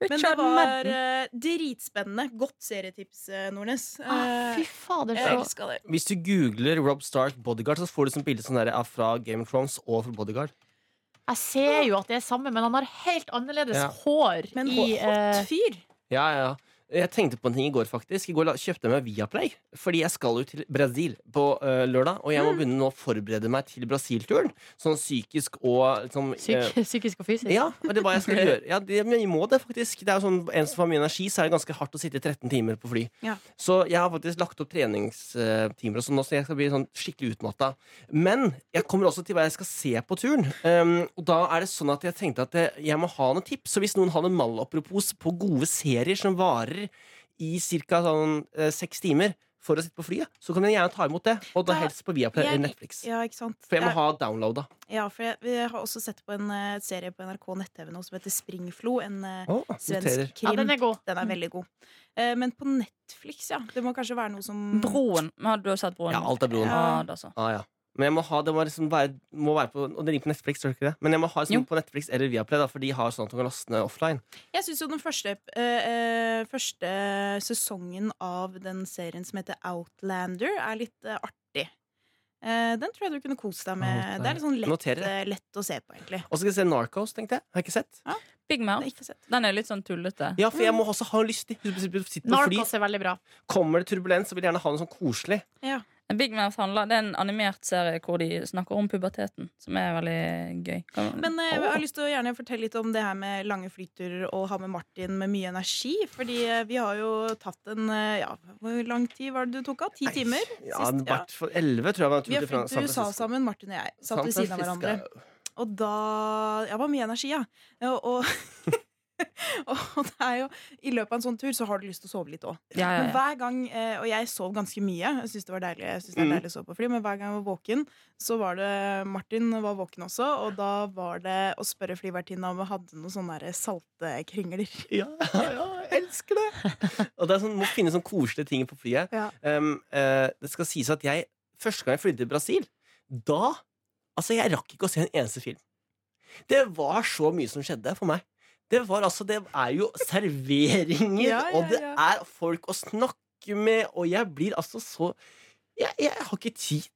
Speaker 5: Men det
Speaker 4: Richard
Speaker 5: var
Speaker 4: Madden.
Speaker 5: eh, dritspennende. Godt serietips, eh, Nordnes.
Speaker 2: Ah,
Speaker 5: Eh,
Speaker 2: fy fader,
Speaker 5: jeg
Speaker 2: så
Speaker 5: elska det.
Speaker 3: Hvis du googler Rob Stark Bodyguard, så får du sånn bilde sånn der av fra Game of Thrones og fra Bodyguard.
Speaker 2: Jeg ser jo at det er samme, men han har helt annerledes
Speaker 3: Ja.
Speaker 2: hår
Speaker 5: Men
Speaker 2: i eh,
Speaker 5: hot fyr.
Speaker 3: Ja, ja, ja. Jeg tenkte på en ting i går, faktisk. I går la- kjøpte jeg meg Viaplay. Fordi jeg skal jo til Brasil på eh, lørdag, og jeg må begynne nå å forberede meg til Brasil-turen. Sånn psykisk og liksom, eh,
Speaker 2: psyk [laughs] psykisk og fysisk.
Speaker 3: Ja, og det er hva jeg skal gjøre. Ja, det, men jeg må det, faktisk. Det er jo sånn, En som har mye energi, så er det ganske hardt å sitte 13 timer på fly.
Speaker 5: Ja.
Speaker 3: Så jeg har faktisk lagt opp treningstimer, og sånn, nå, så jeg skal bli sånn skikkelig utmatta. Men jeg kommer også til hva jeg skal se på turen. Um, og da er det sånn at jeg tenkte at eh, jeg må ha noen tips. Så hvis noen har noen malapropos på gode serier som varer i ca. Sånn, eh, seks timer for å sitte på flyet, så kan jeg gjerne ta imot det. Og da
Speaker 5: Da-
Speaker 3: helst på Viaplay
Speaker 5: jeg-
Speaker 3: eller Netflix.
Speaker 5: Ja, ikke sant?
Speaker 3: For jeg må
Speaker 5: Ja,
Speaker 3: ha downloada.
Speaker 5: Ja, for jeg, jeg har også sett på en eh, serie på NRK nett-TV nå som heter Springflo. En eh,
Speaker 3: Oh,
Speaker 5: svensk
Speaker 3: noterer.
Speaker 2: Ja,
Speaker 5: krim.
Speaker 2: den
Speaker 5: den,
Speaker 2: er
Speaker 5: er...
Speaker 2: god.
Speaker 3: Mm.
Speaker 5: veldig god. Eh, men på Netflix, ja. Det må kanskje være noe som
Speaker 4: Broen. Men Har du også sett Broen?
Speaker 3: Ja, alt er broen.
Speaker 4: Ja, det altså.
Speaker 3: Ah, ja. Men jeg må ha, det må liksom være, må være på Og det ligger på Netflix, tror du ikke det? Men jeg må ha det sånn
Speaker 4: Jo.
Speaker 3: på Netflix eller Viaplay, da, for de har sånn at du kan laste ned offline.
Speaker 5: Jeg syns jo den første, eh, eh, første sesongen av den serien som heter Outlander, er litt eh, artig. Eh, den tror jeg du kunne kose deg med.
Speaker 3: Outlander.
Speaker 5: Det er litt sånn lett,
Speaker 3: Noterer.
Speaker 5: eh, lett å se på, egentlig.
Speaker 3: Og så skal jeg se Narcos, tenkte jeg. Har jeg ikke sett?
Speaker 4: Big
Speaker 5: Det
Speaker 4: Mouth.
Speaker 5: er ikke sett.
Speaker 4: Den er litt sånn tullete.
Speaker 3: Ja, for jeg må også ha lyst til Sitte på fly.
Speaker 2: Narkos er veldig bra.
Speaker 3: Kommer det turbulens, så vil jeg gjerne ha noe sånn koselig.
Speaker 4: Big Mouth handler, Det er en animert serie hvor de snakker om puberteten, som er veldig gøy. Kan-
Speaker 5: Men eh, jeg
Speaker 4: Åh.
Speaker 5: har lyst til å gjerne fortelle litt om det her med lange flyturer og ha med Martin med mye energi. Fordi eh, vi har jo tatt en eh, Ja, hvor lang tid var det du tok av? Ti timer?
Speaker 3: Ja,
Speaker 5: Sist, ja.
Speaker 3: hvert for 11, tror jeg. var en tur
Speaker 5: Vi har
Speaker 3: til Fran-
Speaker 5: flydd til
Speaker 3: San
Speaker 5: USA
Speaker 3: Francisco.
Speaker 5: sammen, Martin og jeg. Satt ved
Speaker 3: San
Speaker 5: siden av hverandre.
Speaker 3: Francisco.
Speaker 5: Og da Ja, det var mye energi, ja. Og, [laughs] og, og det er jo I løpet av en sånn tur så har du lyst til å sove litt òg.
Speaker 4: ja, ja,
Speaker 5: Men
Speaker 4: ja.
Speaker 5: hver gang, eh, og jeg sov ganske mye, jeg synes det var deilig, jeg synes det er
Speaker 3: Mm.
Speaker 5: deilig å sove på fly, men hver gang jeg var våken, så var det Martin var våken også, og da var det å spørre flyvertinna om hun hadde noen sånne der salte kringler.
Speaker 3: Ja, ja, jeg elsker
Speaker 5: [laughs]
Speaker 3: det! Og det er sånn, må finne sånn koselige ting på flyet.
Speaker 5: Ja.
Speaker 3: Um, eh, det skal sies at jeg Første gang jeg flydde til Brasil, da Altså, jeg rakk ikke å se en eneste film. Det var så mye som skjedde for meg. Det var altså Det er jo serveringer,
Speaker 5: Ja, ja,
Speaker 3: og det
Speaker 5: ja.
Speaker 3: er folk å snakke med, og jeg blir altså så Jeg, jeg har ikke tid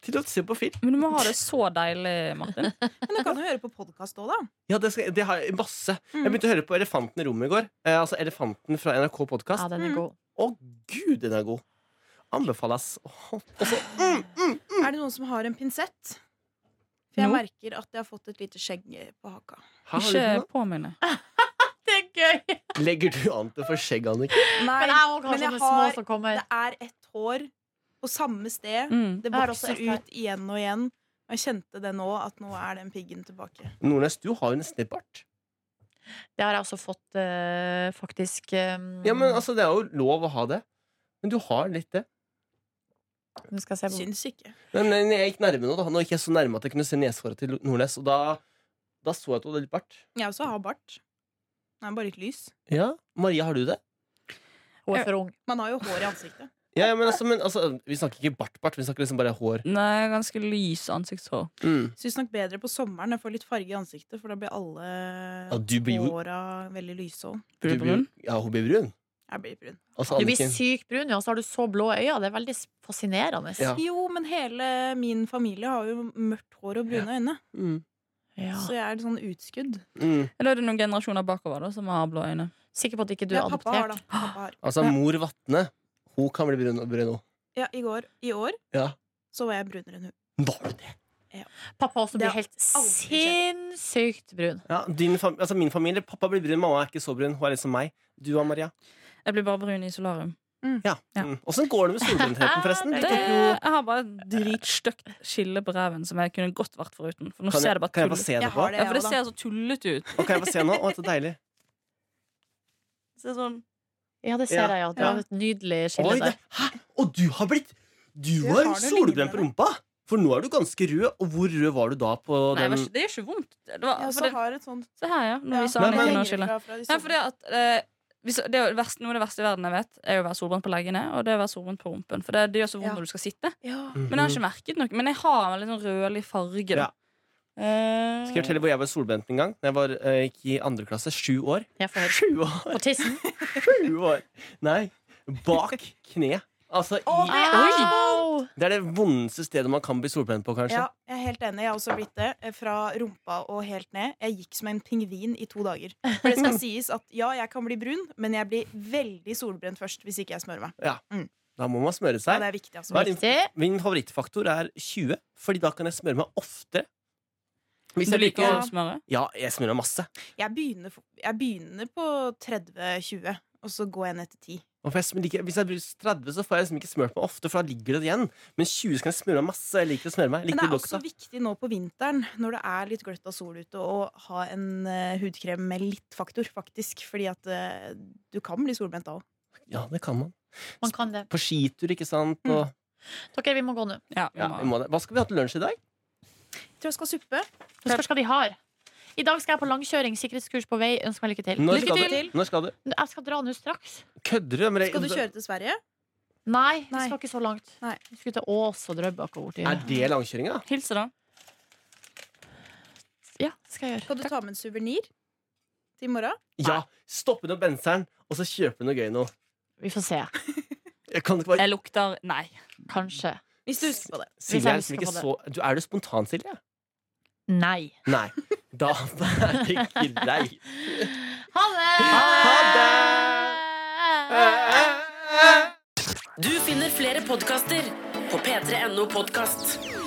Speaker 3: til å se på film.
Speaker 4: Men du må ha det så deilig, Martin.
Speaker 5: Men du kan jo høre på podkast òg, da.
Speaker 3: Ja, det, skal, det har jeg masse.
Speaker 5: Mm.
Speaker 3: Jeg begynte å høre på Elefanten i rommet i går. Eh, altså Elefanten fra NRK Podkast.
Speaker 2: Ja, den er
Speaker 5: Mm.
Speaker 2: god.
Speaker 3: Å, gud, den er god! Anbefales. Åh,
Speaker 5: Er det noen som har en pinsett? For jeg
Speaker 4: No.
Speaker 5: merker at jeg har fått et lite skjegg på haka.
Speaker 3: her har du
Speaker 4: Ikke
Speaker 3: den,
Speaker 4: påminn det.
Speaker 2: Det er gøy!
Speaker 3: da. Legger du an til å få skjegg, Annik?
Speaker 5: Nei,
Speaker 2: Men jeg òg har
Speaker 5: men jeg
Speaker 2: sånne
Speaker 5: har-
Speaker 2: små som kommer.
Speaker 5: det er ett hår på samme sted.
Speaker 4: Mm.
Speaker 5: Det
Speaker 2: Jeg har også
Speaker 5: vokser
Speaker 2: ett her.
Speaker 5: ut igjen og igjen. Og jeg kjente det nå, at nå er den piggen tilbake.
Speaker 3: Nordnes, du har jo nesten litt bart.
Speaker 2: Det har jeg også fått, eh, faktisk. eh,
Speaker 3: Ja, men altså, det er jo lov å ha det. Men du har litt det.
Speaker 2: Nå skal jeg se på.
Speaker 5: Syns ikke.
Speaker 3: Men, men jeg gikk nærme nå, da. Nå gikk jeg så nærme at jeg kunne se nesehåret til Nordnes, og da, da så jeg at du hadde litt bart.
Speaker 5: Jeg også har bart. Den er bare litt lys.
Speaker 3: Ja, Maria, har du det?
Speaker 2: Hun er for ung.
Speaker 5: Man har jo hår i ansiktet.
Speaker 3: Ja, ja, men altså, men altså Vi snakker ikke bart-bart, vi snakker liksom bare hår.
Speaker 4: Nei, ganske lys ansiktshår.
Speaker 3: Mm.
Speaker 5: Syns nok bedre på sommeren. Jeg får litt farge i ansiktet, for da blir
Speaker 3: Ja,
Speaker 5: alle
Speaker 3: du blir jo
Speaker 5: håra veldig lyse òg.
Speaker 4: Blir du på munn?
Speaker 3: Ja, hun blir brun.
Speaker 5: Jeg blir brun.
Speaker 3: Altså,
Speaker 2: Du blir
Speaker 3: Anniken-
Speaker 2: sykt brun, ja, og så har du så blå øyne. Det er veldig fascinerende.
Speaker 3: Ja.
Speaker 5: Jo, men hele min familie har jo mørkt hår og brune øyne,
Speaker 3: Mm.
Speaker 2: Ja.
Speaker 5: så jeg er et sånn utskudd.
Speaker 3: Mm.
Speaker 4: Eller er det noen generasjoner bakover da, som har blå øyne?
Speaker 2: Sikker på at ikke du
Speaker 5: Ja,
Speaker 2: er
Speaker 5: pappa har da.
Speaker 2: adoptert.
Speaker 5: Pappa har.
Speaker 3: Altså, mor Vatne, hun kan bli brun, brun nå.
Speaker 5: Ja, i, går, I år
Speaker 3: Ja.
Speaker 5: så var jeg brunere enn hun.
Speaker 3: Var du det?
Speaker 2: Pappa også
Speaker 5: Det
Speaker 2: blir
Speaker 5: har
Speaker 2: helt
Speaker 5: aldri skjedd.
Speaker 2: sinnssykt brun.
Speaker 3: Ja, din fam altså, min familie, pappa blir brun, mamma er ikke så brun. Hun er litt som meg. Du og Maria.
Speaker 4: Jeg blir bare brun i solarium.
Speaker 3: Ja.
Speaker 4: Ja.
Speaker 3: Mm. Åssen går det med solbruntheten, forresten?
Speaker 2: Det-
Speaker 4: Det, jeg har bare et dritstygt skille på ræven som jeg kunne godt vært foruten. For nå
Speaker 3: Kan
Speaker 4: ser
Speaker 3: jeg,
Speaker 4: det bare
Speaker 3: kan jeg få
Speaker 4: tull.
Speaker 3: se det
Speaker 5: Jeg
Speaker 3: på?
Speaker 5: har det,
Speaker 4: Ja, for det
Speaker 5: jeg
Speaker 4: ser så tullete ut.
Speaker 3: Og kan jeg få se nå? Å, så deilig.
Speaker 4: Det ser sånn
Speaker 2: Ja, det ser
Speaker 3: Ja.
Speaker 2: jeg, ja. Du har et nydelig skille
Speaker 3: Oi,
Speaker 2: der.
Speaker 3: det- hæ? Og du har blitt Du
Speaker 5: Du
Speaker 3: var
Speaker 5: har det liggende
Speaker 3: solbrent på
Speaker 5: der.
Speaker 3: rumpa! For nå er du ganske rød, og hvor rød var du da på
Speaker 4: Nei,
Speaker 3: den
Speaker 4: det var ikke- det gjør ikke vondt. Det var,
Speaker 5: Jeg
Speaker 4: for
Speaker 5: også
Speaker 4: det,
Speaker 5: har et sånt
Speaker 4: se her, ja. Når vi sa
Speaker 3: Nei,
Speaker 4: det
Speaker 3: men-
Speaker 4: kunne ha
Speaker 5: henger
Speaker 4: skille.
Speaker 5: fra- fra de
Speaker 4: Nei,
Speaker 5: sommer-
Speaker 4: fordi at eh, hvis, det er jo det verste, Noe av det verste i verden jeg vet, er jo å være solbrent på leggene og det er å være solbrent på rumpen. For det, det gjør så vondt
Speaker 5: Ja.
Speaker 4: når du skal sitte.
Speaker 5: Ja.
Speaker 4: Men jeg
Speaker 3: Mhm.
Speaker 4: har ikke merket noe. Men jeg har en litt sånn rødlig farge. Da.
Speaker 3: Mm.
Speaker 4: Eh,
Speaker 3: Ja. Skal jeg fortelle hvor jeg var solbrent en gang? Da jeg var, eh, gikk i andre klasse. Sju år.
Speaker 2: Jeg får høre.
Speaker 3: Sju år!
Speaker 2: På
Speaker 5: [laughs]
Speaker 2: tissen.
Speaker 3: Sju år. Nei. Bak kne. Altså
Speaker 5: Å,
Speaker 3: i
Speaker 5: det er så
Speaker 2: Au!
Speaker 3: Det er det vondeste stedet man kan bli solbrent på, kanskje.
Speaker 5: Ja, jeg er helt enig. Jeg har også blitt det. eh, Fra rumpa og helt ned. Jeg gikk som en pingvin i to dager. For det
Speaker 3: [laughs]
Speaker 5: skal sies at ja, jeg kan bli brun, men jeg blir veldig solbrent først hvis ikke jeg smører meg.
Speaker 3: Da må man smøre
Speaker 5: Ja,
Speaker 3: seg.
Speaker 5: det er viktig, altså.
Speaker 3: Hva er din-
Speaker 2: Riktig.
Speaker 3: Min favorittfaktor er 20, Fordi da kan jeg smøre meg ofte. Hvis
Speaker 4: Du
Speaker 3: jeg
Speaker 4: liker
Speaker 3: liker
Speaker 4: å smøre?
Speaker 3: Ja, jeg smører meg masse.
Speaker 5: Jeg begynner, f- jeg begynner på 30-20, og så går jeg ned til 10.
Speaker 3: Og for jeg sm- liker, hvis jeg bruker 30, så får jeg liksom ikke smørt meg ofte, for da ligger det igjen. Men 20 så kan jeg smøre meg masse. Jeg liker å smøre meg. Jeg
Speaker 5: Men
Speaker 3: liker
Speaker 5: det er også
Speaker 3: lukta.
Speaker 5: viktig nå på vinteren, når det er litt gløtt av sol ute, å ha en eh, hudkrem med litt faktor, faktisk. Fordi at eh, du kan bli solbrent da òg.
Speaker 3: Ja, det kan man.
Speaker 2: Man kan det.
Speaker 3: På skitur, ikke sant.
Speaker 5: Mm.
Speaker 3: Og,
Speaker 2: Dere, vi må gå nå.
Speaker 4: Ja, vi
Speaker 3: ja,
Speaker 4: må.
Speaker 3: vi må det. Hva skal vi ha til lunsj i dag?
Speaker 5: Tror jeg skal ha suppe.
Speaker 2: Det spørs hva de har. I dag skal jeg på langkjøring, sikkerhetskurs på vei. Ønsker meg lykke til.
Speaker 3: Når
Speaker 5: Lykke
Speaker 3: skal
Speaker 5: til.
Speaker 3: du? Når skal du?
Speaker 2: Jeg skal dra nå straks.
Speaker 3: Kødder du? Men jeg-
Speaker 5: Skal du kjøre til Sverige?
Speaker 2: Nei, vi
Speaker 5: Nei.
Speaker 2: skal ikke så langt.
Speaker 5: Nei.
Speaker 2: Vi skulle til Ås og Drøbak og borti.
Speaker 3: Er det langkjøringa?
Speaker 4: Hilse, da.
Speaker 2: Ja, det skal jeg gjøre.
Speaker 5: Kan du ta med en suvenir til i morgen?
Speaker 3: Ja. Stoppe ned benseren, og så kjøpe noe gøy nå.
Speaker 2: Vi får se. [laughs]
Speaker 3: Jeg kan ikke bare
Speaker 4: Jeg lukter nei.
Speaker 2: Kanskje.
Speaker 5: Hvis du husker på det.
Speaker 3: Silje er
Speaker 2: Hvis
Speaker 3: liksom
Speaker 2: jeg
Speaker 3: ikke
Speaker 2: husker
Speaker 3: så du, Er du spontan, Silje?
Speaker 2: Nei.
Speaker 3: Nei. Da [laughs] er det ikke greit.
Speaker 2: Ha det!
Speaker 3: 啊
Speaker 1: Du finner flere podkaster på p3.no podkast.